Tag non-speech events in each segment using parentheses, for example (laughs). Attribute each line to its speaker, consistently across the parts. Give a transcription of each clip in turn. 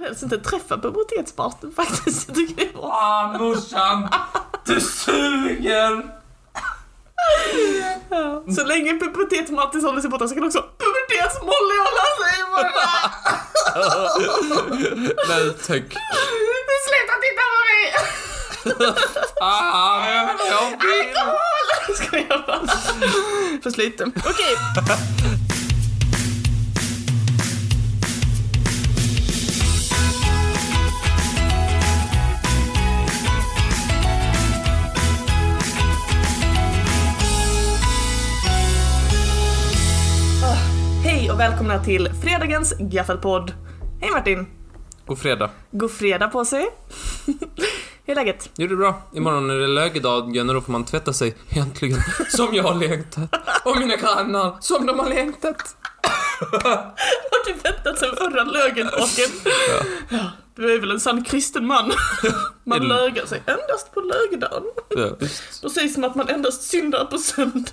Speaker 1: helst inte träffa pubertetspartnern faktiskt. Jag tycker det är bra.
Speaker 2: Ah, morsan! Du suger!
Speaker 1: Ja. Så länge pubertets-Mattis håller sig borta så kan också pubertets-Molly hålla sig borta.
Speaker 2: Nej, tack.
Speaker 1: Sluta titta på mig!
Speaker 2: Ah, jag vill.
Speaker 1: Alkohol! Ska jag bara... (laughs) För sliten. Okej. Ah, Hej och välkomna till fredagens Gaffelpodd. Hej Martin!
Speaker 2: God fredag.
Speaker 1: God fredag på sig. (laughs) Hur är läget?
Speaker 2: Jo, det är bra. Imorgon är det lögedagen och då får man tvätta sig. Äntligen. Som jag har längtat. Och mina grannar, som de har längtat.
Speaker 1: Har du väntat sen förra lögendagen? Ja. Du är väl en sann kristen
Speaker 2: (laughs)
Speaker 1: man? Man
Speaker 2: Eller-
Speaker 1: lögar sig endast på lögedagen.
Speaker 2: Ja, visst.
Speaker 1: Då sägs det att man endast syndar på söndagen.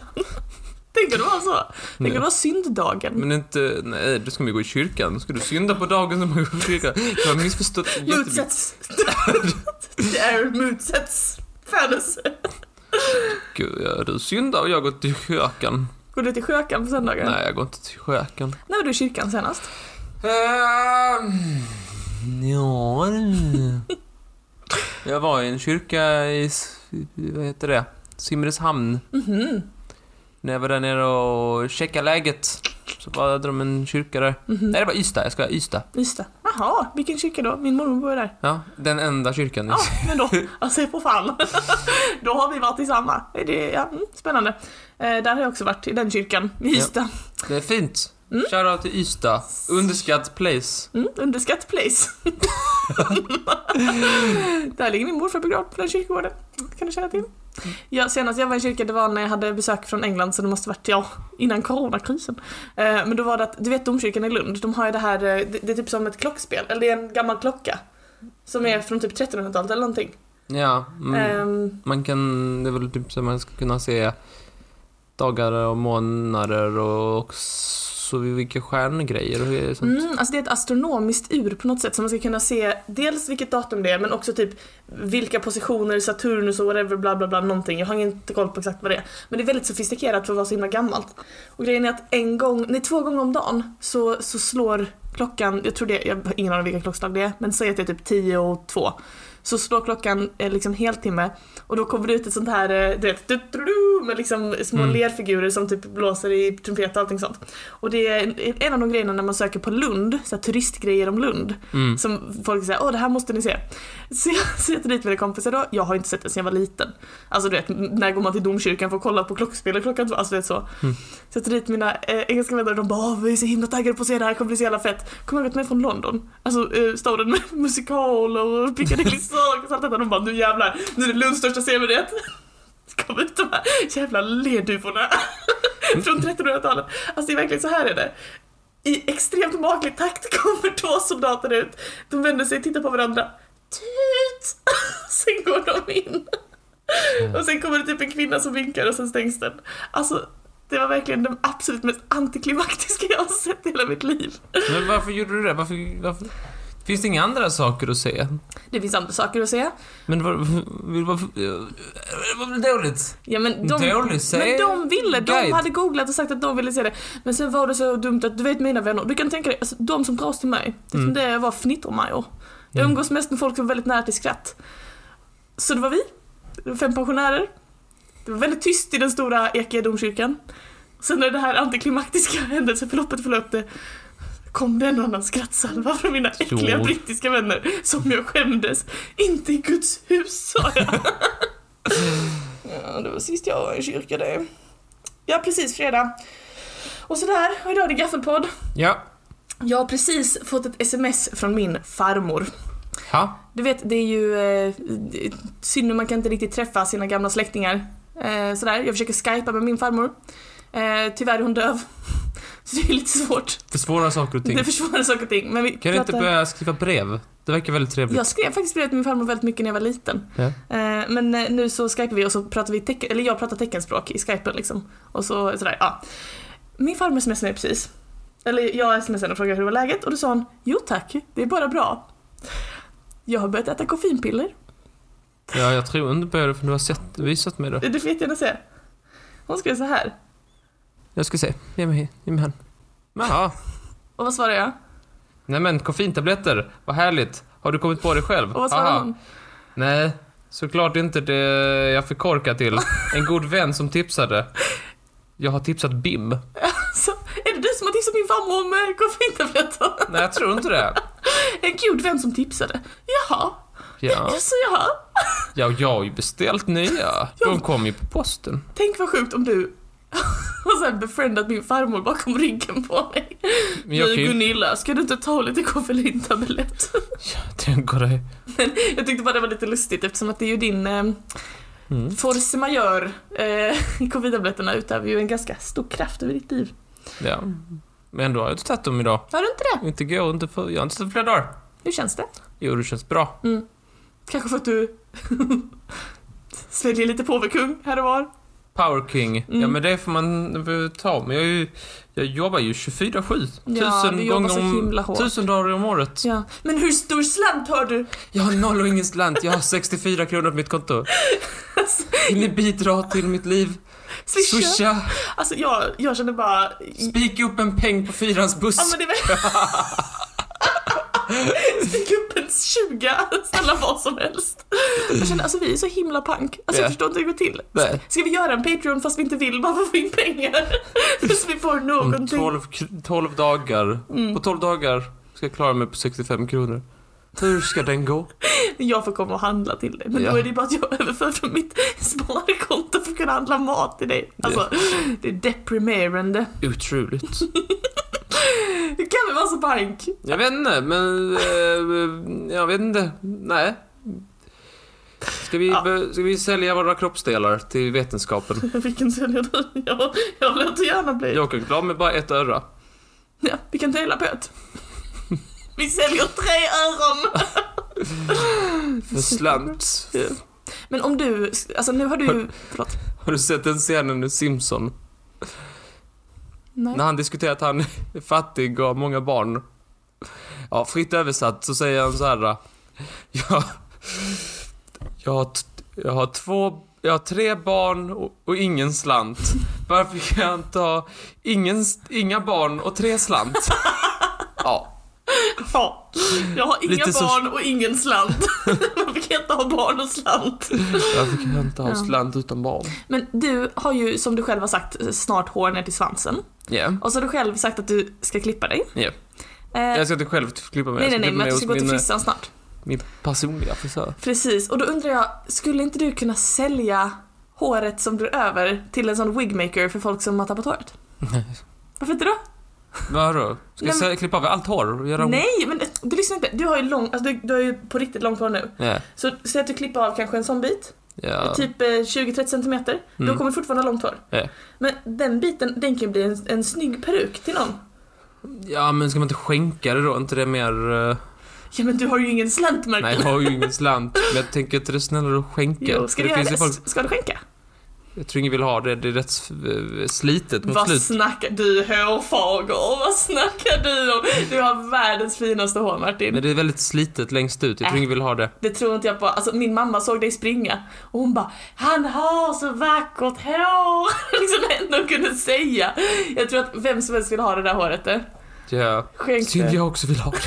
Speaker 1: Tänker du vara så? Tänker
Speaker 2: Nej.
Speaker 1: du vara synddagen?
Speaker 2: Mm. Men inte... Nej, då ska man ju gå i kyrkan. Då ska du synda på dagen som man går i kyrkan. Jag har missförstått jättemycket.
Speaker 1: Motsats. (laughs) Det är motsats. Födelse.
Speaker 2: Gud, ja, du syndar och jag går till kyrkan.
Speaker 1: Går du till sjökan på söndagar?
Speaker 2: Nej, jag går inte till kyrkan.
Speaker 1: När var du i kyrkan senast?
Speaker 2: Ehm, ja, det- Jag var i en kyrka i, S- vad heter det, Simrishamn. När jag var där nere och checkade läget så var hade de en kyrka där. Nej, det var Ystad. Jag ska Ystad.
Speaker 1: Ystad. Jaha, vilken kyrka då? Min mormor bor där.
Speaker 2: Ja, den enda kyrkan. i (laughs)
Speaker 1: Ja, men då, alltså på fall. (laughs) Då har vi varit i samma. Det är, ja, mm, spännande. Eh, där har jag också varit, i den kyrkan, i
Speaker 2: Ja.
Speaker 1: Ystad.
Speaker 2: Det är fint. Shoutout till Ystad. Underskatt place.
Speaker 1: Mm, underskatt place. (laughs) där ligger min morfar begravd på den kyrkogården. kan du känna till.
Speaker 2: Mm.
Speaker 1: Ja, senast jag var i kyrkan det var när jag hade besök från England så det måste varit, ja, innan coronakrisen. Eh, men då var det att, du vet domkyrkan i Lund, de har ju det här, eh, det, det är typ som ett klockspel, eller det är en gammal klocka. Som är från typ 1300-talet eller någonting.
Speaker 2: Ja, mm.
Speaker 1: Ehm,
Speaker 2: man kan... Det är väl typ så man ska kunna se dagar och månader och så vilka stjärngrejer och sånt.
Speaker 1: Mm, alltså det är ett astronomiskt ur på något sätt som man ska kunna se dels vilket datum det är men också typ vilka positioner, Saturnus och whatever bla bla bla någonting. Jag har inte koll på exakt vad det är. Men det är väldigt sofistikerat för att vara så himla gammalt. Och grejen är att en gång, nej två gånger om dagen så, så slår klockan, jag tror det, jag har ingen aning vilka klockslag det är, men säg att det är typ 10 och 2. Så slår klockan eh, liksom heltimme och då kommer det ut ett sånt här, eh, du vet, du-du-du, med liksom små
Speaker 2: Mm.
Speaker 1: lerfigurer som typ blåser i trumpet och allting sånt. Och det är en- en av de grejerna när man söker på Lund, så här turistgrejer om Lund,
Speaker 2: Mm.
Speaker 1: som folk säger åh det här måste ni se. Så jag (laughs) sätter dit mina kompisar då, jag har inte sett det sedan jag var liten. Alltså du vet, m- när går man till domkyrkan för att kolla på klockspelet klockan två? Alltså du vet så.
Speaker 2: Mm.
Speaker 1: Sätter dit mina eh, engelska vänner och de bara åh vi är så himla taggade på att se det här, det kommer bli så jävla fett. Kommer ihåg att de är från London, alltså eh, staden med (laughs) musikal och Piccadilly Circus och allt detta. De bara nu jävlar, nu är det Lunds största sevärdhet. (laughs) Kom ut de här jävla lerduvorna (laughs) från 1300-talet. Alltså det är verkligen så här är det. I extremt maklig takt kommer två soldater ut. De vänder sig, tittar på varandra. Tut! (laughs) Sen går de in.
Speaker 2: Mm.
Speaker 1: Och sen kommer det typ en kvinna som vinkar och sen stängs den. Alltså, det var verkligen den absolut mest antiklimaktiska jag har sett i hela mitt liv.
Speaker 2: Men varför gjorde du det? Varför, varför? Finns det inga andra saker att se?
Speaker 1: Det finns andra saker att säga.
Speaker 2: Men var, var, varför... Det var väl dåligt?
Speaker 1: Ja men de,
Speaker 2: Dålig
Speaker 1: men
Speaker 2: säg-
Speaker 1: de ville, de
Speaker 2: guide.
Speaker 1: hade googlat och sagt att de ville se det. Men sen var det så dumt att, du vet mina vänner, du kan tänka dig, alltså, de som dras till mig, det är som
Speaker 2: Mm.
Speaker 1: det jag var fnittermajor. Jag
Speaker 2: Mm.
Speaker 1: umgås mest med folk som är väldigt nära till skratt. Så det var vi, det var fem pensionärer. Det var väldigt tyst i den stora ekiga domkyrkan. Sen när det här antiklimaktiska (laughs) händelseförloppet förlöpte kom det en annan skrattsalva från mina äckliga
Speaker 2: Jo.
Speaker 1: brittiska vänner som jag skämdes. Inte i Guds hus sa jag. Ja, det var sist jag var i kyrka det. Ja, precis, fredag. Och sådär, och idag är det gaffelpodd.
Speaker 2: Ja.
Speaker 1: Jag har precis fått ett sms från min farmor.
Speaker 2: Ha?
Speaker 1: Du vet, det är ju eh, synd när man kan inte riktigt träffa sina gamla släktingar. Eh, sådär, jag försöker skypa med min farmor. Eh, tyvärr är hon döv. (laughs) Så det är lite svårt.
Speaker 2: För svåra saker och ting.
Speaker 1: Det försvårar saker och ting. Men vi
Speaker 2: Kan du inte
Speaker 1: pratar-
Speaker 2: börja skriva brev? Det verkar väldigt trevligt.
Speaker 1: Jag skrev faktiskt brev till min farmor väldigt mycket när jag var liten.
Speaker 2: Ja.
Speaker 1: Eh, Men eh, nu så skypar vi och så pratar vi tecken, eller jag pratar teckenspråk i skypen liksom. Och så sådär, ja. Min farmor smsade mig precis. Eller jag smsade henne och frågade hur det var läget och då sa hon Jo tack, det är bara bra. Jag har börjat äta koffeinpiller.
Speaker 2: Ja, jag tror inte på det för du har sett, visat mig det.
Speaker 1: Du får jättegärna se. Hon skrev så här.
Speaker 2: Jag ska se. Ge mig, ge mig han. Jaha.
Speaker 1: Och vad svarar jag?
Speaker 2: Nej men koffeintabletter. Vad härligt. Har du kommit på det själv?
Speaker 1: Och vad svarar
Speaker 2: Haha.
Speaker 1: hon?
Speaker 2: Nej, såklart inte det jag fick
Speaker 1: (laughs)
Speaker 2: korka till. En god vän som tipsade. Jag har tipsat BIM.
Speaker 1: Så, är det du som har tipsat min farmor om eh, koffeintabletter?
Speaker 2: Nej, jag tror inte det.
Speaker 1: En god vän som tipsade. Jaha,
Speaker 2: Ja,
Speaker 1: (laughs) så jaha.
Speaker 2: ja jag har ju beställt nya. De kom ju på posten.
Speaker 1: Tänk vad sjukt om du (laughs) har så här befriendat min farmor bakom ryggen på mig.
Speaker 2: Men jag
Speaker 1: du
Speaker 2: kan ju...
Speaker 1: Gunilla, ska du inte ta lite koffeintablett?
Speaker 2: Jag tänker det.
Speaker 1: Jag tyckte bara det var lite lustigt eftersom att det är ju din eh,
Speaker 2: Mm.
Speaker 1: force majeure. Eh, (laughs) Covid-tabletterna utövar ju en ganska stor kraft över ditt liv.
Speaker 2: Ja. Men ändå har jag inte tagit dem idag.
Speaker 1: Har du inte det?
Speaker 2: Inte går, inte för... Jag har inte tagit flera dagar.
Speaker 1: Hur känns det?
Speaker 2: Jo, det känns bra.
Speaker 1: Mm. Kanske för att du (laughs) sväljer lite påvekung här och var.
Speaker 2: Power King.
Speaker 1: Mm.
Speaker 2: Ja, men det får man väl ta. Men jag, är ju, jag jobbar ju 24-7.
Speaker 1: Ja, du
Speaker 2: tusen,
Speaker 1: jobbar
Speaker 2: gånger
Speaker 1: så himla hårt.
Speaker 2: om, tusen dagar om året.
Speaker 1: Ja. Men hur stor slant har du?
Speaker 2: Jag har noll och ingen slant. Jag har 64 kronor på mitt konto.
Speaker 1: Alltså.
Speaker 2: Vill ni bidra till mitt liv?
Speaker 1: Swisha?
Speaker 2: Swisha!
Speaker 1: Alltså jag, jag känner bara...
Speaker 2: Spika upp en peng på fyrans buss.
Speaker 1: Ja men det är väl... Stick upp en 20, ställa vad som helst. Jag känner, alltså vi är så himla pank. Alltså
Speaker 2: Ja.
Speaker 1: jag förstår inte hur det går till.
Speaker 2: Nej.
Speaker 1: Ska vi göra en Patreon fast vi inte vill bara för att få in pengar? (laughs) Tills vi får
Speaker 2: Om
Speaker 1: någonting.
Speaker 2: 12, kr- 12 dagar.
Speaker 1: Mm.
Speaker 2: På 12 dagar ska jag klara mig på 65 kronor. Hur ska den gå?
Speaker 1: Jag får komma och handla till dig. Men
Speaker 2: Ja.
Speaker 1: då är det bara att jag (laughs) överför från mitt sparkonto för att kunna handla mat till dig. Alltså, det är deprimerande.
Speaker 2: Otroligt.
Speaker 1: Hur kan vi vara så pank?
Speaker 2: Jag vet inte, men... Eh, jag vet inte. Nej. Ska vi,
Speaker 1: Ja.
Speaker 2: be- ska vi sälja våra kroppsdelar till vetenskapen?
Speaker 1: (laughs) Vilken säljer du? Jag, jag vill inte gärna bli...
Speaker 2: Jag kan klara mig bara ett öra.
Speaker 1: Ja, vi kan dela på (laughs) ett. Vi säljer tre öron!
Speaker 2: För slant.
Speaker 1: Men om du, alltså nu har du ju, förlåt.
Speaker 2: Har du sett den scenen i Simpson?
Speaker 1: Nej.
Speaker 2: Mm. När han diskuterar att han är fattig och har många barn. Ja, fritt översatt så säger han så här. Jag, jag, har, t- jag har två, jag har tre barn och, och ingen slant. Varför kan jag inte ha ingen, s- inga barn och
Speaker 1: (laughs)
Speaker 2: tre slant? Ja,
Speaker 1: Ja. Jag har inga
Speaker 2: Lite så-
Speaker 1: barn och ingen (laughs) slant. Man kan inte ha barn och slant.
Speaker 2: varför kan jag inte ha
Speaker 1: Ja.
Speaker 2: slant utan barn?
Speaker 1: Men du har ju, som du själv har sagt, snart hår ner till svansen.
Speaker 2: Ja,
Speaker 1: Och så har du själv sagt att du ska klippa dig.
Speaker 2: Ja.
Speaker 1: Eh,
Speaker 2: jag ska inte själv klippa mig.
Speaker 1: nej,
Speaker 2: Jag
Speaker 1: nej, nej,
Speaker 2: klippa
Speaker 1: men
Speaker 2: mig
Speaker 1: att du
Speaker 2: hos
Speaker 1: ska gå till
Speaker 2: min, eh,
Speaker 1: frissan snart.
Speaker 2: min
Speaker 1: (laughs)
Speaker 2: personliga frisör.
Speaker 1: Precis, och då undrar jag, skulle inte du kunna sälja håret som blir över till en sån wigmaker för folk som har tappat håret? Varför inte då?
Speaker 2: Vadå? Ska jag
Speaker 1: Nej, men-
Speaker 2: sä- klippa av allt hår och göra
Speaker 1: Nej, men du lyssnar inte. Du har ju lång, alltså du, du har ju på riktigt långt hår nu.
Speaker 2: Ja,
Speaker 1: Så säg att du klipper av kanske en sån bit,
Speaker 2: ja.
Speaker 1: typ eh, 20-30 centimeter. Då
Speaker 2: Mm.
Speaker 1: kommer du fortfarande ha långt hår.
Speaker 2: Ja.
Speaker 1: Men den biten, den kan ju bli en, en snygg peruk till någon.
Speaker 2: Ja, men ska man inte skänka det då? inte det mer... eh,
Speaker 1: Ja men du har ju ingen slant
Speaker 2: Nej,
Speaker 1: Marcus.
Speaker 2: jag har ju ingen slant. Men jag tänker att det är snällare att skänka.
Speaker 1: Jo, ska
Speaker 2: För
Speaker 1: du göra
Speaker 2: finns
Speaker 1: det?
Speaker 2: ju folk,
Speaker 1: Ska du skänka?
Speaker 2: jag tror ingen vill ha det. Det är rätt eh, slitet mot
Speaker 1: Vad
Speaker 2: slut.
Speaker 1: snackar du hårfager? Vad snackar du om? Du har världens finaste hår Martin.
Speaker 2: Men det är väldigt slitet längst ut. Jag tror
Speaker 1: Äh.
Speaker 2: ingen vill ha det.
Speaker 1: Det tror inte jag på. Alltså min mamma såg dig springa och hon bara Han har så vackert hår! (laughs) liksom det enda hon kunde säga. Jag tror att vem som helst vill ha det där håret du.
Speaker 2: Ja.
Speaker 1: Skänk
Speaker 2: Synd
Speaker 1: det.
Speaker 2: jag också vill
Speaker 1: (laughs)
Speaker 2: ha det.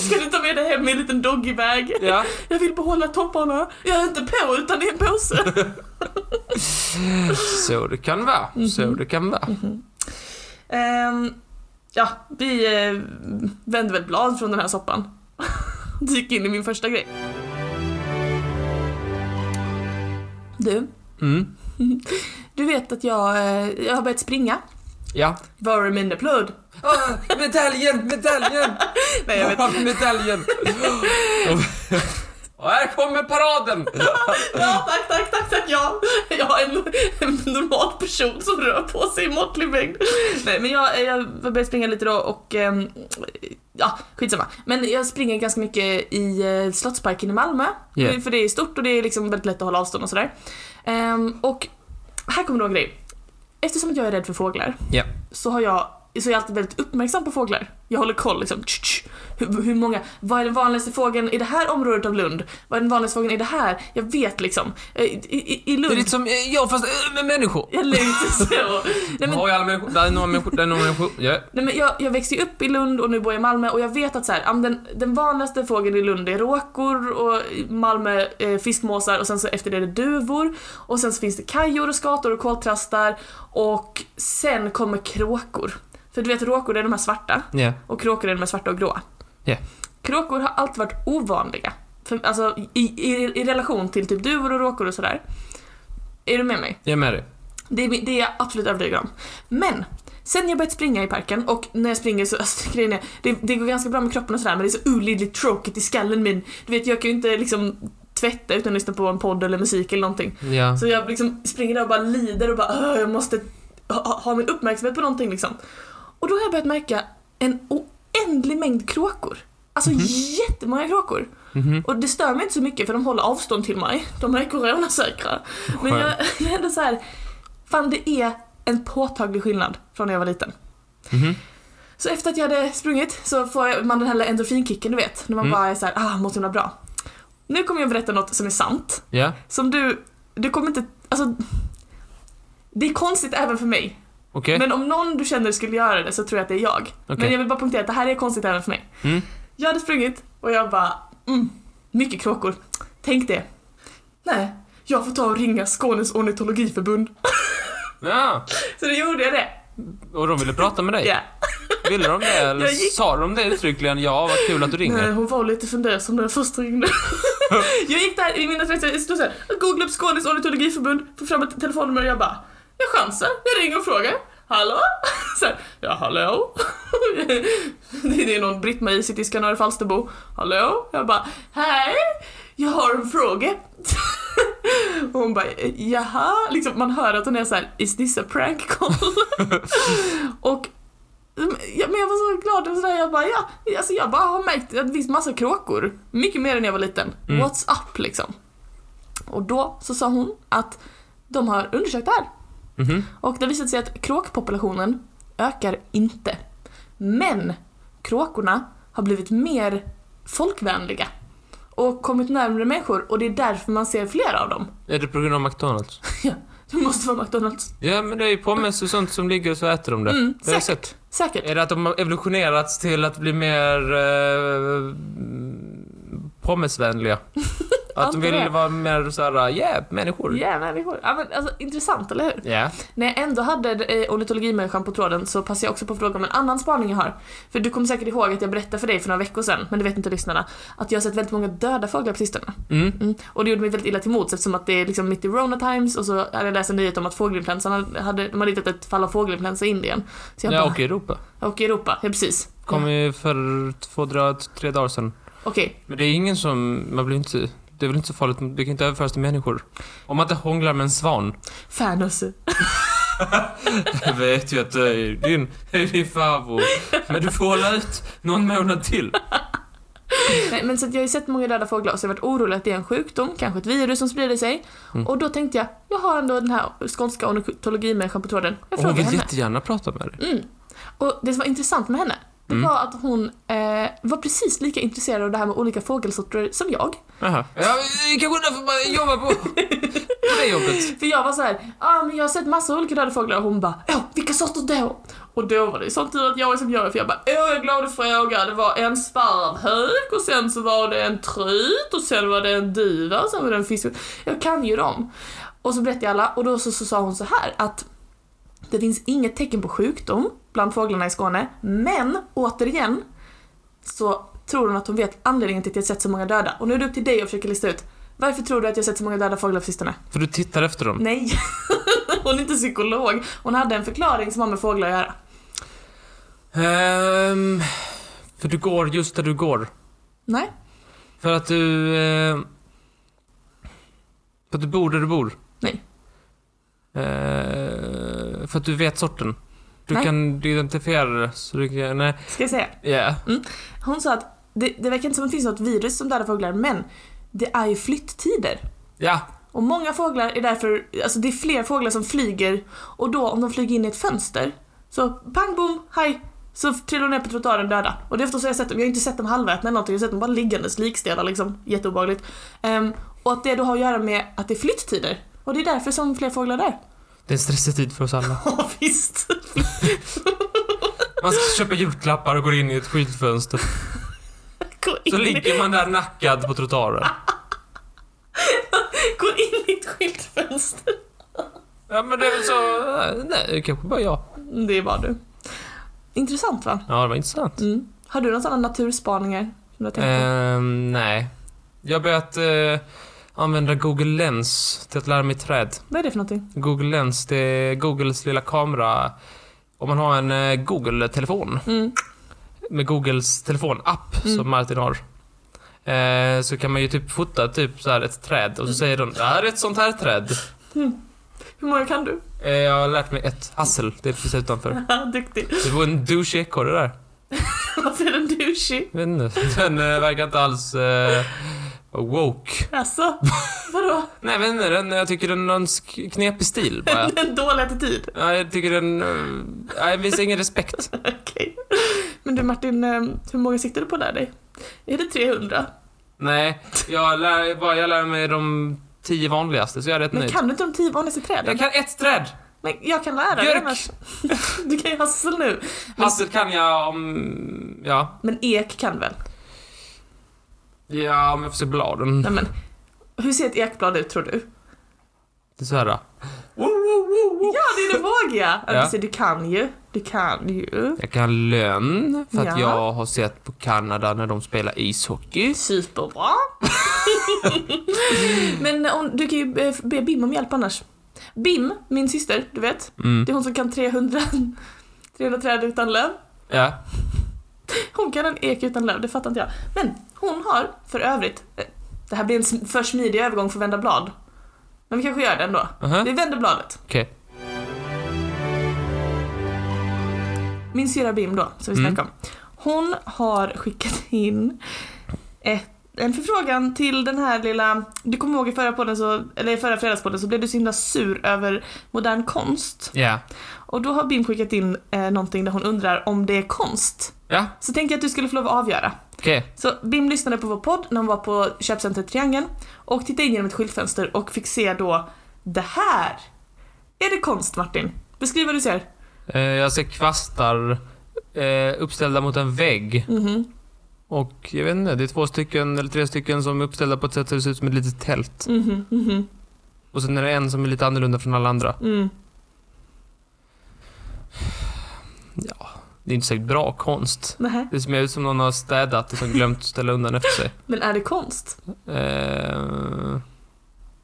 Speaker 1: Ska du ta med det hem i en liten doggybag?
Speaker 2: Ja.
Speaker 1: Jag vill behålla topparna. Jag är inte på utan det är en påse.
Speaker 2: Så det kan vara. Så
Speaker 1: Mhm.
Speaker 2: det kan vara.
Speaker 1: Ehm, ja, vi eh, vänder väl blad från den här soppan. (laughs) Dyker in i min första grej. Du,
Speaker 2: Mm.
Speaker 1: du vet att jag, eh, jag har börjat springa.
Speaker 2: Ja.
Speaker 1: Vara min applåd.
Speaker 2: Ah, medaljen, (laughs) medaljen!
Speaker 1: Nej, jag vet
Speaker 2: Ah, (laughs) medaljen! Och här kommer paraden!
Speaker 1: (laughs) Ja, tack, tack, tack, tack, ja. Jag är en, en normal person som rör på sig i måttlig mängd. Nej, men jag, jag började springa lite då och... ehm, Ja, skitsamma. Men jag springer ganska mycket i eh, Slottsparken i Malmö.
Speaker 2: Yeah.
Speaker 1: Eh, För det är stort och det är liksom väldigt lätt att hålla avstånd och sådär. Ehm, och här kommer då en grej. Eftersom att jag är rädd för fåglar
Speaker 2: Ja.
Speaker 1: så, har jag, så är jag alltid väldigt uppmärksam på fåglar. Jag håller koll liksom. Tch, tch. Hur, hur många, vad är den vanligaste fågeln i det här området av Lund? Vad är den vanligaste fågeln i det här? Jag vet liksom. Eh, I, i, i
Speaker 2: Det är
Speaker 1: Lund...
Speaker 2: lite som eh, jag fast eh, med människor.
Speaker 1: Jag lite
Speaker 2: (laughs)
Speaker 1: så. Nej, men,
Speaker 2: Har jag alla människor? Där är några människor, där är några människor. Ja.
Speaker 1: nej, men jag, jag växte ju upp i Lund och nu bor jag i Malmö och jag vet att så här, ja, men den, den vanligaste fågeln i Lund är råkor och i Malmö eh, fiskmåsar och sen så efter det är det duvor och sen så finns det kajor och skator och koltrastar och sen kommer kråkor. För du vet råkor det är de här svarta.
Speaker 2: Ja.
Speaker 1: Och kråkor är de här svarta och gråa.
Speaker 2: Ja.
Speaker 1: Kråkor har alltid varit ovanliga. För, alltså i, i, i relation till typ duvor och råkor och sådär. Är du med mig?
Speaker 2: Jag är med dig.
Speaker 1: Det är, det är jag absolut övertygad om. Men! Sen jag börjat springa i parken och när jag springer så, (laughs) alltså, grejen är, det, det går ganska bra med kroppen och sådär men det är så olidligt tråkigt i skallen min. Du vet jag kan ju inte liksom tvätta utan att lyssna på en podd eller musik eller någonting.
Speaker 2: Ja.
Speaker 1: Så jag liksom springer där och bara lider och bara "Åh, jag måste ha, ha- ha min uppmärksamhet på någonting liksom. Och då har jag börjat märka en oändlig mängd kråkor. Alltså jättemånga kråkor.
Speaker 2: Mhm.
Speaker 1: Och det stör mig inte så mycket för de håller avstånd till mig. De är coronasäkra. Men jag, jag är ändå så här, fan det är en påtaglig skillnad från när jag var liten.
Speaker 2: Mhm.
Speaker 1: Så efter att jag hade sprungit så får man den här endorfinkicken du vet. När man
Speaker 2: Mm.
Speaker 1: bara är såhär, ah, måste himla bra. Nu kommer jag berätta något som är sant.
Speaker 2: Ja.
Speaker 1: Som du, du kommer inte, alltså Det är konstigt även för mig.
Speaker 2: Okej.
Speaker 1: Men om någon du känner skulle göra det så tror jag att det är jag. Men
Speaker 2: Okej.
Speaker 1: jag vill bara punktera att det här är konstigt även för mig.
Speaker 2: Mm.
Speaker 1: Jag hade sprungit och jag bara, mm, mycket kråkor. Tänk det. Nej, jag får ta och ringa Skånes ornitologiförbund.
Speaker 2: Ja.
Speaker 1: Så då gjorde jag det.
Speaker 2: Och de ville prata med
Speaker 1: Ja.
Speaker 2: dig? Ville de det? (laughs) Eller
Speaker 1: Jag gick-
Speaker 2: sa de det uttryckligen? Ja, vad kul att du
Speaker 1: Nej,
Speaker 2: ringer.
Speaker 1: hon var lite fundersam när jag först ringde. jag gick där i mina 30 det stod såhär, googla upp Skånes ornitologiförbund, få fram ett telefonnummer och jag bara, jag chansar, jag ringer och frågar. Hallå? (laughs) Så här, ja hallå? (laughs) det är någon Britt-Marie sitter i Skanör Falsterbo. Hallå? Jag bara, hej? Jag har en fråga. (laughs) och hon bara, jaha? Liksom, man hör att hon är såhär, is this a prank call? (laughs) och Mm, ja, men jag var så glad och sådär, jag bara ja, alltså jag bara har märkt att det finns massa kråkor. Mycket mer än när jag var liten.
Speaker 2: Mm.
Speaker 1: What's up liksom? Och då så sa hon att de har undersökt det här.
Speaker 2: Mhm.
Speaker 1: Och det visade sig att kråkpopulationen ökar inte. Men kråkorna har blivit mer folkvänliga och kommit närmare människor och det är därför man ser fler av dem.
Speaker 2: Är det på grund av McDonalds?
Speaker 1: Det måste vara McDonalds.
Speaker 2: Ja, men det är ju pommes och sånt som ligger och så äter de det.
Speaker 1: Mm,
Speaker 2: det har jag
Speaker 1: säkert.
Speaker 2: sett.
Speaker 1: Säkert.
Speaker 2: Är det att de har evolutionerats till att bli mer eh, (laughs) pommesvänliga? Att de
Speaker 1: Antar det.
Speaker 2: vill vara mer såhär, yeah, människor.
Speaker 1: Ja, människor. Ja, men, alltså, intressant, eller hur?
Speaker 2: Ja.
Speaker 1: När jag ändå hade eh, ornitologimänniskan på tråden så passade jag också på att fråga om en annan spaning jag har. För du kommer säkert ihåg att jag berättade för dig för några veckor sedan, men det vet inte lyssnarna, att jag har sett väldigt många döda fåglar på sistone.
Speaker 2: Mm.
Speaker 1: Mm. Och det gjorde mig väldigt illa till mods eftersom att det är liksom mitt i Rona Times och så hade jag läst en nyhet om att fågelinfluensan hade, de hade hittat ett fall av fågelinfluensa i Indien. Så jag
Speaker 2: Ja,
Speaker 1: bara,
Speaker 2: och i Europa.
Speaker 1: och i Europa, ja precis.
Speaker 2: Kom ju för två, dra- tre dagar sedan.
Speaker 1: Okej,
Speaker 2: Men det är ingen som, man blir inte, det är väl inte så farligt, det kan inte överföras till människor. Om man inte hånglar med en svan.
Speaker 1: Fanus.
Speaker 2: (laughs) Jag vet ju att det är din, det är din farbror. Men du får hålla ut någon månad till.
Speaker 1: Nej, men så att jag har ju sett många döda fåglar och så har jag varit orolig att det är en sjukdom, kanske ett virus som sprider sig.
Speaker 2: Mm.
Speaker 1: Och då tänkte jag, jag har ändå den här skånska ornitologimänniskan på tråden. Jag
Speaker 2: Och hon
Speaker 1: frågar
Speaker 2: vill
Speaker 1: henne.
Speaker 2: jättegärna prata med dig.
Speaker 1: Mm. Och det som var intressant med henne, det
Speaker 2: Mm.
Speaker 1: var att hon eh, var precis lika intresserad av det här med olika fågelsorter som jag.
Speaker 2: Jaha. Ja, kanske därför man jobbar på, på det jobbet.
Speaker 1: (laughs) För jag var så här, ah, men jag har sett massa olika döda fåglar och hon bara, ja vilka sorter då? Och då var det ju sån tur att jag är som jag är, för jag bara, åh jag är glad du frågar. Det var en sparvhök och sen så var det en tryt och sen var det en duva och sen var det en fisk. Jag kan ju dem. Och så berättade jag alla och då så, så sa hon så här att det finns inget tecken på sjukdom bland fåglarna i Skåne, men återigen så tror hon att hon vet anledningen till att jag sett så många döda. Och nu är det upp till dig att försöka lista ut varför tror du att jag sett så många döda fåglar på sistone?
Speaker 2: För du tittar efter dem.
Speaker 1: Nej, (laughs) hon är inte psykolog. Hon hade en förklaring som har med fåglar att göra.
Speaker 2: Ehm, för du går just där du går.
Speaker 1: Nej.
Speaker 2: För att du... Eh, för att du bor där du bor.
Speaker 1: Nej.
Speaker 2: Ehm, för att du vet sorten. Du
Speaker 1: Nej.
Speaker 2: kan du identifiera det. Så du kan... Nej.
Speaker 1: Ska jag säga?
Speaker 2: Ja.
Speaker 1: Hon sa att det, det verkar inte som att det finns något virus som dödar fåglar, men det är ju flytttider.
Speaker 2: Ja.
Speaker 1: Och många fåglar är därför, alltså det är fler fåglar som flyger och då om de flyger in i ett fönster så pang bom, hej, Så trillade de ner på trottoaren döda. Och det är efter så jag har sett dem, jag har inte sett dem halvätna eller någonting, jag har sett dem bara liggandes likstenar liksom. Jätteobehagligt. Ehm, och att det då har att göra med att det är flytttider. Och det är därför som fler fåglar dör.
Speaker 2: Det är en stressig tid för oss alla.
Speaker 1: Ja visst.
Speaker 2: Man ska köpa julklappar och går in i ett skyltfönster.
Speaker 1: Gå
Speaker 2: Så
Speaker 1: (laughs) in, i,
Speaker 2: ligger man där nackad på trottoaren.
Speaker 1: gå in i ett skyltfönster.
Speaker 2: Ja men det är väl så... eh, Nej, det kanske bara jag.
Speaker 1: Det var du. Intressant va?
Speaker 2: Ja, det var intressant.
Speaker 1: Mm. Har du några sådana naturspaningar? Som du har tänkt på?
Speaker 2: Ehm, nej. Jag har börjat eh, använda Google Lens till att lära mig träd.
Speaker 1: Vad är det för någonting?
Speaker 2: Google Lens, det är Googles lilla kamera. Om man har en eh, Google-telefon
Speaker 1: Mm.
Speaker 2: med Googles telefonapp
Speaker 1: Mm.
Speaker 2: som Martin har. Eh, så kan man ju typ fota typ så här ett träd och så säger de det här är ett sånt här träd.
Speaker 1: Hur många kan du?
Speaker 2: Eh, jag har lärt mig ett hassel, det är precis utanför.
Speaker 1: Duktig.
Speaker 2: Det var en douchig ekorre där.
Speaker 1: Varför är den douchig?
Speaker 2: Jag vet inte, (laughs) den eh, verkar inte alls eh, woke.
Speaker 1: Alltså, vadå?
Speaker 2: Nej men den, jag tycker den har en sk- knepig stil
Speaker 1: (laughs)
Speaker 2: bara.
Speaker 1: En dålig attityd?
Speaker 2: Ja, jag tycker den... eh, Nej, det finns ingen respekt.
Speaker 1: Okej. Men du Martin, eh, hur många siktar du på där dig? Är det 300?
Speaker 2: Nej, jag lär, bara, jag lär mig de tio vanligaste så jag är rätt
Speaker 1: Men
Speaker 2: nöjd.
Speaker 1: kan du inte de tio vanligaste träden?
Speaker 2: Jag kan ett träd!
Speaker 1: Men jag kan lära dig
Speaker 2: Björk!
Speaker 1: annars. (laughs) Du kan ju hassel nu.
Speaker 2: Hassel kan jag om... Ja.
Speaker 1: Men ek kan väl?
Speaker 2: Ja, om jag får se bladen.
Speaker 1: Nej men, hur ser ett ekblad ut tror du?
Speaker 2: Det är så här.
Speaker 1: Ja, det är det vågiga! Ja.
Speaker 2: Ja.
Speaker 1: Du, ser, du kan ju. Du kan ju.
Speaker 2: Jag kan lön för
Speaker 1: Ja.
Speaker 2: att jag har sett på Kanada när de spelar ishockey.
Speaker 1: Superbra. (laughs) men om, du kan ju eh, be Bim om hjälp annars. Bim, min syster, du vet.
Speaker 2: Mm.
Speaker 1: Det är hon som kan (laughs) 300, 300 träd utan löv.
Speaker 2: Ja.
Speaker 1: Hon kan en ek utan löv, det fattar inte jag. Men hon har, för övrigt, eh, det här blir en sm- för smidig övergång för vända blad. Men vi kanske gör det ändå.
Speaker 2: Aha.
Speaker 1: Vi vänder bladet.
Speaker 2: Okej.
Speaker 1: Min syra Bim då, som vi
Speaker 2: Mm.
Speaker 1: snackade om. Hon har skickat in ett, en förfrågan till den här lilla, du kommer ihåg i förra podden så, eller i förra fredagspodden så blev du så himla sur över modern konst.
Speaker 2: Ja.
Speaker 1: Och då har Bim skickat in eh, någonting där hon undrar om det är konst.
Speaker 2: Ja,
Speaker 1: Så tänkte jag att du skulle få lov att avgöra.
Speaker 2: okej.
Speaker 1: Så Bim lyssnade på vår podd när hon var på köpcentret Triangeln och tittade in genom ett skyltfönster och fick se då det här. Är det konst Martin? Beskriv vad du ser.
Speaker 2: Eh, Jag ser kvastar eh, uppställda mot en vägg.
Speaker 1: Mhm.
Speaker 2: Och jag vet inte, det är två stycken eller tre stycken som är uppställda på ett sätt så det ser ut som ett litet tält.
Speaker 1: Mhm. Mhm.
Speaker 2: Och sen är det en som är lite annorlunda från alla andra.
Speaker 1: Mm.
Speaker 2: Det är inte särskilt bra konst.
Speaker 1: Nähä.
Speaker 2: Det ser mer ut som någon har städat och sen glömt ställa undan efter sig.
Speaker 1: Men är det konst?
Speaker 2: Eh,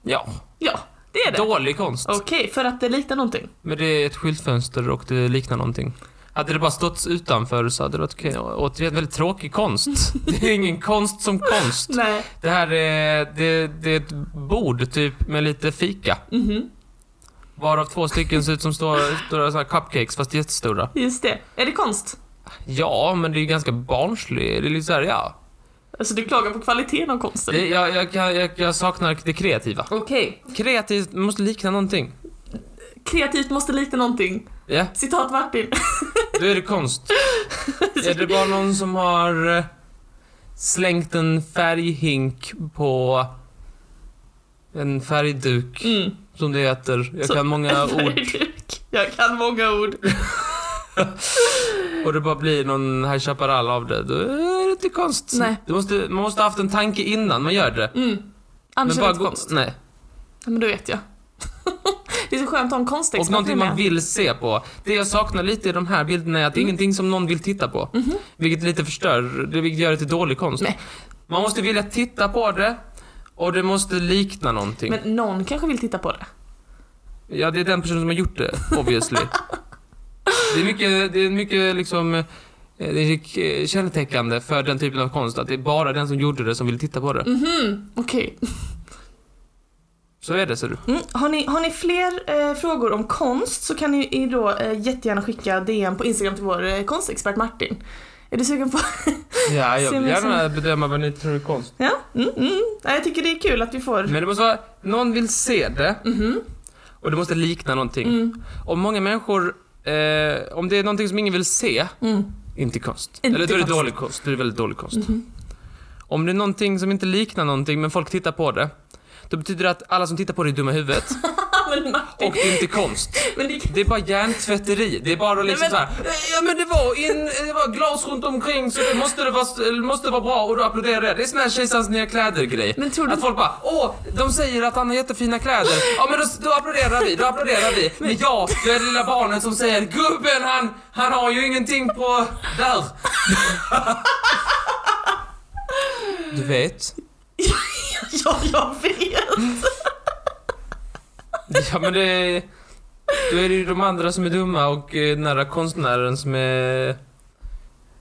Speaker 2: ja,
Speaker 1: Ja, det är det.
Speaker 2: dålig konst.
Speaker 1: Okej, för att det liknar någonting.
Speaker 2: Men det är ett skyltfönster och det liknar någonting. Hade det bara stått utanför så hade det varit okej. Återigen, väldigt
Speaker 1: (laughs)
Speaker 2: tråkig konst. Det är ingen konst som konst.
Speaker 1: Nej.
Speaker 2: Det här är, det, det är ett bord typ med lite fika.
Speaker 1: Mhm.
Speaker 2: Varav två stycken ser ut som stora, stora så här cupcakes fast jättestora.
Speaker 1: Just det. Är det konst?
Speaker 2: Ja, men det är ju ganska barnsligt. Det är lite såhär, ja.
Speaker 1: Alltså du klagar på kvaliteten av konsten.
Speaker 2: Det, jag, jag, kan- jag, jag saknar det kreativa.
Speaker 1: Okej.
Speaker 2: Kreativt måste likna någonting.
Speaker 1: Kreativt måste likna någonting.
Speaker 2: Ja,
Speaker 1: Citat Martin.
Speaker 2: då är
Speaker 1: (laughs)
Speaker 2: det konst. Är det bara någon som har eh, slängt en färghink på en
Speaker 1: (laughs)
Speaker 2: färgduk,
Speaker 1: Mm.
Speaker 2: som det heter. Jag
Speaker 1: Så- (laughs)
Speaker 2: kan många ord.
Speaker 1: Jag kan många ord. Mm.
Speaker 2: och det bara blir någon High Chaparral av det, då är det inte konst.
Speaker 1: Nej.
Speaker 2: Du måste, man måste ha haft en tanke innan man gör det.
Speaker 1: Mm. Annars är det inte
Speaker 2: gå-
Speaker 1: konst.
Speaker 2: Nej.
Speaker 1: Ja, men då vet jag. (laughs) det är så skönt att ha en konsttext
Speaker 2: Och någonting
Speaker 1: man
Speaker 2: man vill se på. Det jag saknar lite i de här bilderna är att det är ingenting som någon vill titta på. Vilket lite förstör, det vilket gör det till dålig konst.
Speaker 1: Nej.
Speaker 2: Man måste vilja titta på det och det måste likna någonting.
Speaker 1: Men någon kanske vill titta på det.
Speaker 2: Ja, det är den personen som har gjort det, obviously. det är mycket, det är mycket liksom, eh, det är eh, kännetecknande för den typen av konst att det är bara den som gjorde det som vill titta på det.
Speaker 1: Mhm, okej.
Speaker 2: Så är det, ser du.
Speaker 1: Mm. Har, ni, har ni fler eh, frågor om konst så kan ni då eh, jättegärna skicka DM på Instagram till vår eh, konstexpert Martin. Är du sugen på...
Speaker 2: Ja,
Speaker 1: jag
Speaker 2: jag
Speaker 1: Se
Speaker 2: vill
Speaker 1: mig
Speaker 2: gärna bedöma vad ni tror är konst.
Speaker 1: ja? Mm, mm. Nej, jag tycker det är kul att vi får...
Speaker 2: Men det måste vara, någon vill se det
Speaker 1: Mhm.
Speaker 2: och det måste likna någonting.
Speaker 1: Mm,
Speaker 2: Om många människor, eh, om det är någonting som ingen vill se,
Speaker 1: mm.
Speaker 2: Inte konst.
Speaker 1: Inte
Speaker 2: Eller det är väldigt
Speaker 1: konst. Mhm.
Speaker 2: dålig konst. Det är väldigt dålig konst. Om det är någonting som inte liknar någonting men folk tittar på det, då betyder det att alla som tittar på det är dumma
Speaker 1: (laughs)
Speaker 2: i huvudet
Speaker 1: men Martin,
Speaker 2: och det är inte konst.
Speaker 1: men det (laughs)
Speaker 2: Det är bara hjärntvätteri. Det är bara liksom
Speaker 1: Nej,
Speaker 2: såhär, ja men det var, in, det var glas runt omkring så det måste, det vara, måste vara bra och då applåderar jag. Det är sån här kejsarens nya kläder grej.
Speaker 1: Men tror du-
Speaker 2: Att folk bara, åh, de säger att han har jättefina kläder. Ja men då, då applåderar vi, då applåderar vi. Men jag, jag är det lilla barnet som säger, gubben han, han har ju ingenting på, där. (laughs) Du vet.
Speaker 1: Ja, jag vet!
Speaker 2: Ja men det, då är det ju de andra som är dumma och eh, den här konstnären som är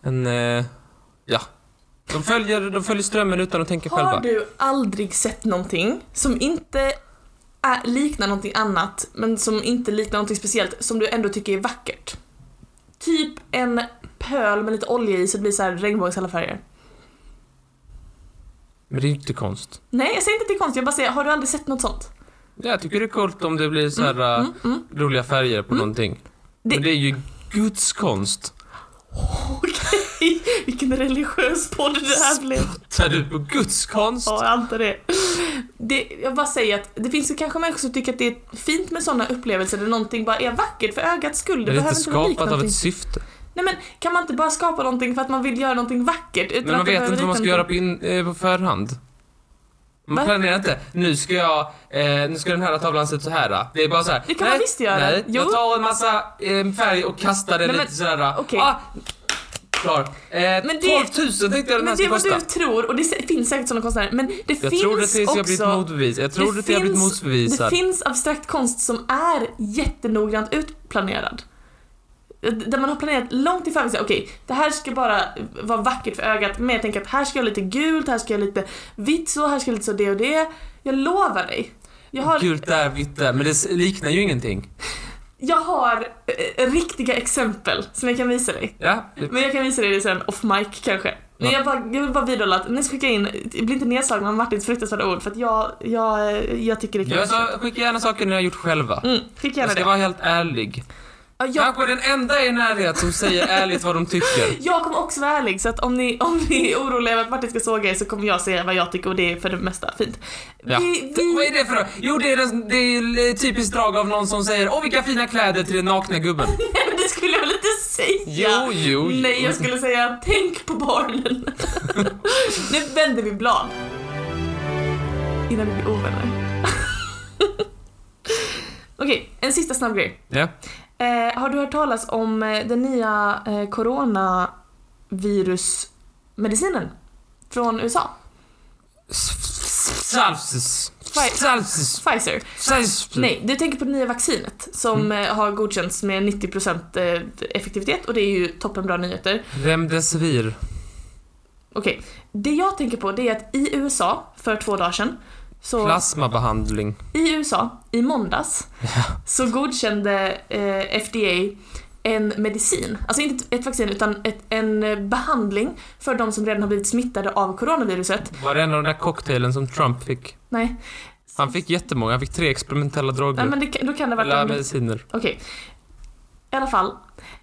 Speaker 2: en, eh, ja. De följer, de följer strömmen utan att tänka
Speaker 1: Har
Speaker 2: själva.
Speaker 1: du aldrig sett någonting som inte är, liknar någonting annat, men som inte liknar någonting speciellt, som du ändå tycker är vackert? Typ en pöl med lite olja i så det blir så här regnbågens alla färger.
Speaker 2: Men det är ju inte konst.
Speaker 1: Nej, jag säger inte att det är konstigt, jag bara säger, har du aldrig sett något sånt?
Speaker 2: Ja, jag tycker det är coolt om det blir så här eh,
Speaker 1: Mm, mm.
Speaker 2: roliga färger på någonting.
Speaker 1: Det-
Speaker 2: Men det är ju Guds konst.
Speaker 1: Okej, (laughs) vilken religiös podd det här blev.
Speaker 2: Tar du på Guds konst?
Speaker 1: Ja, jag antar det. det. Jag bara säger att det finns ju kanske människor som tycker att det är fint med sådana upplevelser där någonting bara är vackert för ögats skull. Det,
Speaker 2: det är
Speaker 1: behöver
Speaker 2: inte
Speaker 1: inte vara likt
Speaker 2: skapat av
Speaker 1: någonting.
Speaker 2: ett syfte.
Speaker 1: Nej men kan man inte bara skapa någonting för att man vill göra någonting vackert? Utan
Speaker 2: Men man
Speaker 1: att det
Speaker 2: vet
Speaker 1: behöver
Speaker 2: inte vad man ska
Speaker 1: likna
Speaker 2: göra på,
Speaker 1: någonting?
Speaker 2: in, eh, på förhand.
Speaker 1: Va?
Speaker 2: Man planerar inte, nu ska jag, eh, nu ska den här tavlan se ut så här. då. Det är bara så här.
Speaker 1: Det kan man visst göra.
Speaker 2: Nej,
Speaker 1: Jo.
Speaker 2: jag tar en massa eh, färg och kastar den
Speaker 1: Nej, men-
Speaker 2: lite sådär.
Speaker 1: okej.
Speaker 2: Ah, klar. Eh,
Speaker 1: Men det-
Speaker 2: 12 000 tänkte jag den
Speaker 1: Men
Speaker 2: här
Speaker 1: det
Speaker 2: ska
Speaker 1: är vad
Speaker 2: kosta.
Speaker 1: du tror och det se- finns säkert sådana konstnärer men det
Speaker 2: Jag
Speaker 1: finns
Speaker 2: tror det tills
Speaker 1: också...
Speaker 2: jag blivit motbevisad. Jag tror det, till jag blivit
Speaker 1: finns- Det
Speaker 2: motbevisad.
Speaker 1: finns abstrakt konst som är jättenoggrant utplanerad. Där man har planerat långt i förväg, så här, okej, det här ska bara vara vackert för ögat, men jag tänker att här ska jag ha lite gult, här ska jag ha lite vitt så, här ska jag ha lite så det och det. Jag lovar dig. Jag har,
Speaker 2: Gult där, vitt där, men det s- liknar ju ingenting.
Speaker 1: jag har eh, riktiga exempel som jag kan visa dig.
Speaker 2: Ja, det-
Speaker 1: Men jag kan visa dig det sen off mic kanske. Nej,
Speaker 2: Ja.
Speaker 1: jag, bara, jag vill bara vidhålla att ni ska skicka in, bli inte nedslagna av Martins fruktansvärda ord för att jag, jag, eh, jag tycker det kan
Speaker 2: jag sa, skicka gärna saker ni har gjort själva.
Speaker 1: Mm, skicka
Speaker 2: Jag
Speaker 1: gärna
Speaker 2: ska
Speaker 1: det.
Speaker 2: vara helt ärlig.
Speaker 1: Ja, jag,
Speaker 2: Kanske den enda i er närhet som säger ärligt vad
Speaker 1: (laughs)
Speaker 2: de tycker.
Speaker 1: jag kommer också vara ärlig så att om ni, om ni är oroliga över att Martin ska såga er så kommer jag säga vad jag tycker och det är för det mesta fint.
Speaker 2: Ja.
Speaker 1: Vi,
Speaker 2: Det- Vad
Speaker 1: vi,
Speaker 2: är det för då? Jo, det är, den, det är typiskt drag av någon som säger Åh, vilka fina kläder till den
Speaker 1: (laughs)
Speaker 2: nakna gubben.
Speaker 1: nej, men (laughs) det skulle jag väl inte säga?
Speaker 2: Jo, jo, jo.
Speaker 1: Nej, jag skulle säga tänk på
Speaker 2: (laughs)
Speaker 1: barnen. nu vänder vi blad. Innan vi blir ovänner. (laughs) Okej, en sista snabb grej.
Speaker 2: Ja.
Speaker 1: Eh, har du hört talas om eh, den nya eh, coronavirusmedicinen från USA?
Speaker 2: Salsis.
Speaker 1: Fight.
Speaker 2: Salsis.
Speaker 1: Pfizer?
Speaker 2: Salsis.
Speaker 1: Nej, du tänker på det nya vaccinet som eh, har godkänts med 90% eh, effektivitet och det är ju toppenbra nyheter.
Speaker 2: Remdesivir.
Speaker 1: Okej, det jag tänker på det är att i USA för två dagar sedan så
Speaker 2: Plasmabehandling.
Speaker 1: i USA i måndags så godkände eh, FDA en medicin, alltså inte ett- ett vaccin utan ett, en eh, behandling för de som redan har blivit smittade av coronaviruset.
Speaker 2: Var det en av den där cocktailen som Trump fick?
Speaker 1: Nej,
Speaker 2: Han fick jättemånga. Han fick tre experimentella droger.
Speaker 1: nej men det, kan- då kan det ha varit
Speaker 2: Eller
Speaker 1: en
Speaker 2: mediciner.
Speaker 1: Okej. I alla fall.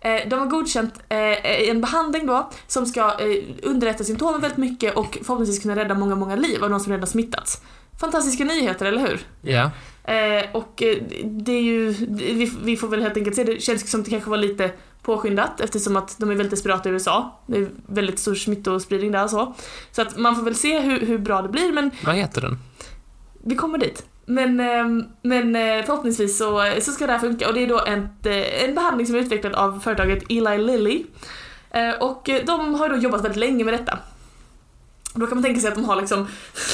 Speaker 1: Eh, de har godkänt eh, en behandling då som ska eh, underlätta symptomen väldigt mycket och förhoppningsvis kunna rädda många, många liv av de som redan smittats. Fantastiska nyheter, eller hur?
Speaker 2: Ja.
Speaker 1: Eh, och eh, det är ju, det- vi, vi får väl helt enkelt se, det känns som att det kanske var lite påskyndat eftersom att de är väldigt desperata i USA. Det är väldigt stor smittospridning där och så. Så att man får väl se hur, hur bra det blir men
Speaker 2: Vad heter den?
Speaker 1: vi kommer dit. Men, eh, men eh, förhoppningsvis så, så ska det här funka och det är då en, eh, en behandling som är utvecklad av företaget Eli Lilly. Eh, Och eh, de har ju då jobbat väldigt länge med detta. Och Då kan man tänka sig att de har liksom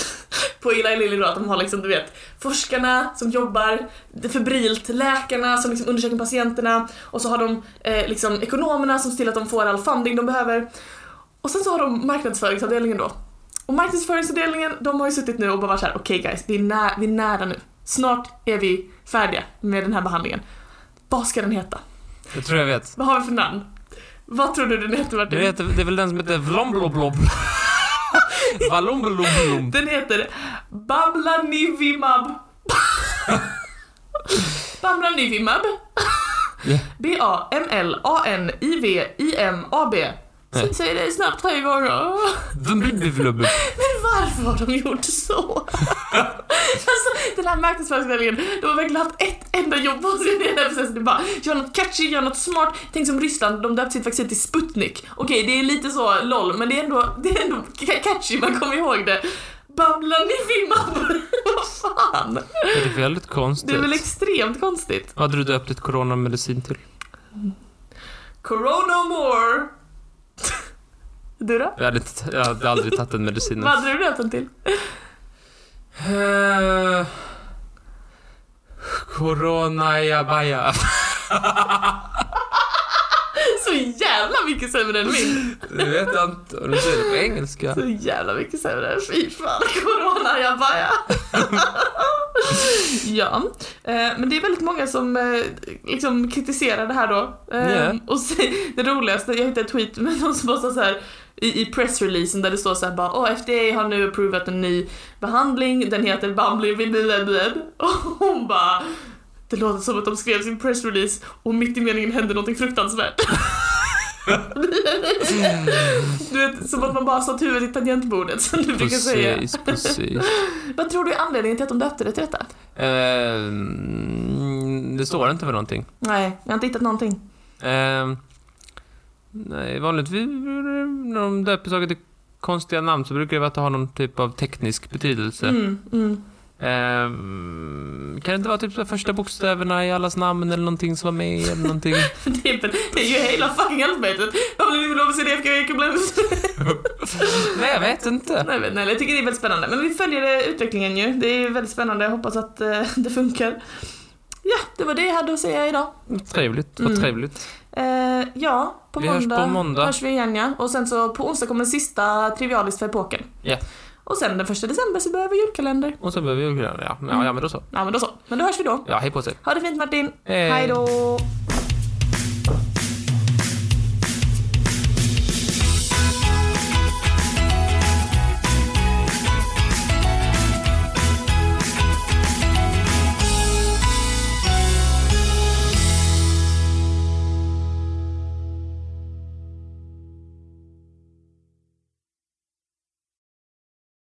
Speaker 1: (laughs) på Eli Lilly då att de har liksom du vet forskarna som jobbar febrilt, läkarna som liksom undersöker patienterna och så har de eh, liksom ekonomerna som ser till att de får all funding de behöver. Och sen så har de marknadsföringsavdelningen då. Och marknadsföringsavdelningen, de har ju suttit nu och bara varit såhär, okej guys, vi är, nä- vi är nära nu. Snart är vi färdiga med den här behandlingen. Vad ska den heta?
Speaker 2: Jag tror jag vet.
Speaker 1: Vad har vi för namn? Vad tror du den heter Martin?
Speaker 2: Det, heter, det är väl den som heter Vlombloblob.
Speaker 1: (laughs)
Speaker 2: Valombloblob.
Speaker 1: Den heter Bablanivimab. Bablanivimab.
Speaker 2: Ja.
Speaker 1: B-A-M-L-A-N-I-V-I-M-A-B. Sen så är det snabbt tre gånger. Men (laughs) varför har de gjort så? (laughs) alltså, den här marknadsföringsavdelningen, de har verkligen haft ett enda jobb på sig i den här processen. Det är bara, gör något catchy, gör något smart. Tänk som Ryssland, de döpte sitt vaccin till Sputnik. Okej, det är lite så LOL, men det är ändå, det är ändå ca- catchy, man kommer ihåg det. Babblar ni filmar? (laughs) Vad fan?
Speaker 2: Det är väldigt konstigt.
Speaker 1: Det är väl extremt konstigt.
Speaker 2: Vad hade du döpt ett coronamedicin till?
Speaker 1: Corona more! Du då?
Speaker 2: Jag hade, inte, t- jag hade aldrig tagit den medicinen.
Speaker 1: Vad hade du döpt den till?
Speaker 2: Eh, Corona jabaja.
Speaker 1: Så jävla mycket sämre än min!
Speaker 2: Det vet jag inte. Och Du säger det på engelska.
Speaker 1: Så jävla mycket sämre. Fy fan, (laughs) corona, jag bara ja. (laughs) ja, eh, men det är väldigt många som eh, liksom kritiserar det här då. Eh,
Speaker 2: Ja.
Speaker 1: Och se, (laughs) det roligaste, jag hittade ett tweet med någon som bara sa så här i, i pressreleasen där det står så här bara Åh, FDA har nu approvat en ny behandling, den heter Bamblividilidid. Och hon bara Det låter som att de skrev sin pressrelease och mitt i meningen hände någonting fruktansvärt. (laughs) Du vet, som att man bara satt huvudet i tangentbordet som du brukar säga.
Speaker 2: Precis, precis.
Speaker 1: Vad tror du är anledningen till att de döpte det till detta?
Speaker 2: Eh, mm, det står inte för någonting.
Speaker 1: Nej, jag har inte hittat någonting.
Speaker 2: Eh, nej, vanligtvis när de döper saker till konstiga namn så brukar det vara att det har någon typ av teknisk betydelse.
Speaker 1: Mm, mm. (laughs)
Speaker 2: Ehm, kan det inte vara typ de första bokstäverna i allas namn eller någonting som var med eller någonting?
Speaker 1: Det, är, väl- det är ju hela fucking alfabetet. Vad blir det med CDFG? (laughs)
Speaker 2: (laughs) Nej, jag vet inte.
Speaker 1: Nej, men- nej, jag tycker det är väldigt spännande. Men vi följer eh, utvecklingen ju. Det är ju väldigt spännande. Jag hoppas att eh, (laughs) det funkar. Ja, det var det jag hade att säga idag.
Speaker 2: Trevligt, vad
Speaker 1: Mm.
Speaker 2: trevligt.
Speaker 1: Eh, ja, på
Speaker 2: Vi
Speaker 1: måndag,
Speaker 2: hörs på måndag.
Speaker 1: hörs vi igen ja. Och sen så på onsdag kommer sista Trivialist för epoken.
Speaker 2: Ja.
Speaker 1: Och sen den första december så börjar vi julkalender.
Speaker 2: Och så behöver vi ju... Ja, ja, ja, men då så.
Speaker 1: Ja, men då så. Men då hörs vi då.
Speaker 2: Ja, hej på sig.
Speaker 1: Ha det fint Martin.
Speaker 2: Hej.
Speaker 1: Hej då.